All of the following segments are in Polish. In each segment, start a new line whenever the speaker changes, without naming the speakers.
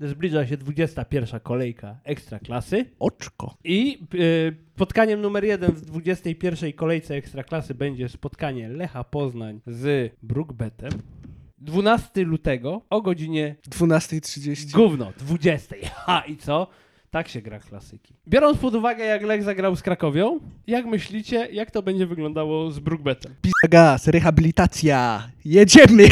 zbliża się 21. kolejka Ekstraklasy
Oczko.
i y, spotkaniem numer jeden w 21. kolejce Ekstraklasy będzie spotkanie Lecha Poznań z Brookbetem. 12 lutego o godzinie
12.30.
Gówno, 20. Ha, i co? Tak się gra klasyki. Biorąc pod uwagę, jak Lech zagrał z Krakowią, jak myślicie, jak to będzie wyglądało z Brookbetem?
Pizda gaz, rehabilitacja. Jedziemy.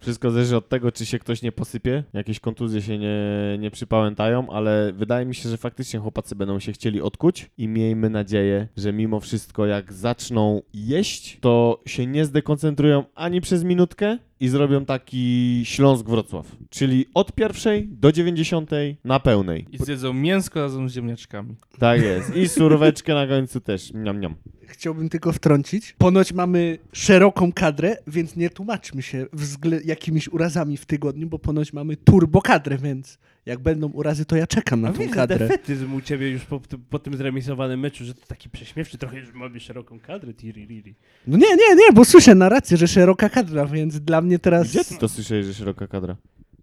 Wszystko zależy od tego, czy się ktoś nie posypie, jakieś kontuzje się nie, nie przypałętają, ale wydaje mi się, że faktycznie chłopacy będą się chcieli odkuć i miejmy nadzieję, że mimo wszystko jak zaczną jeść, to się nie zdekoncentrują ani przez minutkę i zrobią taki Śląsk-Wrocław, czyli od pierwszej do dziewięćdziesiątej na pełnej.
I zjedzą mięsko razem z ziemniaczkami.
Tak jest. I suróweczkę na końcu też. Niam, niam.
Chciałbym tylko wtrącić. Ponoć mamy szeroką kadrę, więc nie tłumaczmy się wzglę- jakimiś urazami w tygodniu, bo ponoć mamy turbo kadrę, więc jak będą urazy, to ja czekam na tą kadrę.
defetyzm u ciebie już po, po tym zremisowanym meczu, że to taki prześmiewczy trochę, że mamy szeroką kadrę, tiririri.
No nie, nie, nie, bo słyszę na rację, że szeroka kadra, więc dla mnie teraz...
Gdzie ty to słyszałeś, że szeroka kadra?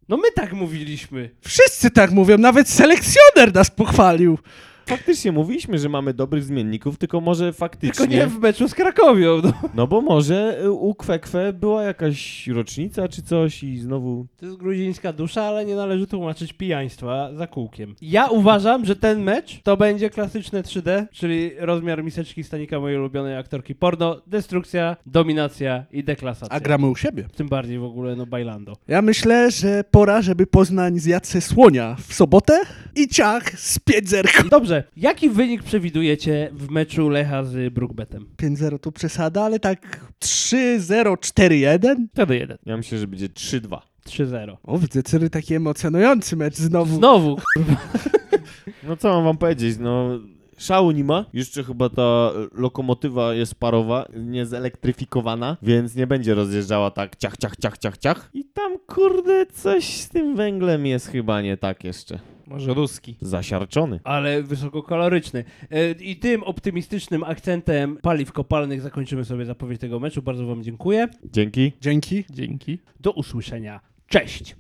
No my tak mówiliśmy.
Wszyscy tak mówią, nawet selekcjoner nas pochwalił.
Faktycznie mówiliśmy, że mamy dobrych zmienników, tylko może
Tylko
faktycznie...
nie w meczu z Krakowią. No.
No bo może y, u Kwekwe była jakaś rocznica czy coś i znowu...
To jest gruzińska dusza, ale nie należy tłumaczyć pijaństwa za kółkiem. Ja uważam, że ten mecz to będzie klasyczne 3D, czyli rozmiar miseczki Stanika mojej ulubionej aktorki porno, destrukcja, dominacja i deklasacja.
A gramy u siebie.
Tym bardziej w ogóle, no bailando.
Ja myślę, że pora, żeby Poznań zjadł se słonia w sobotę i ciach z 5-0.
Dobrze, jaki wynik przewidujecie w meczu Lecha z Brookbetem?
5-0 to przesada, ale tak 3-0, 4-1.
Wtedy jeden.
Ja myślę, że będzie 3-2.
3-0.
O, widzę, Cyry taki emocjonujący mecz znowu.
Znowu,
No co mam wam powiedzieć, no... Szału nie ma, jeszcze chyba ta y, lokomotywa jest parowa, nie zelektryfikowana, więc nie będzie rozjeżdżała tak ciach, ciach, ciach, ciach, ciach. I tam kurde coś z tym węglem jest chyba nie tak jeszcze.
Może ruski.
Zasiarczony.
ale wysokokoloryczny. E, I tym optymistycznym akcentem paliw kopalnych zakończymy sobie zapowiedź tego meczu. Bardzo wam dziękuję.
Dzięki.
Dzięki.
Dzięki.
Do usłyszenia. Cześć!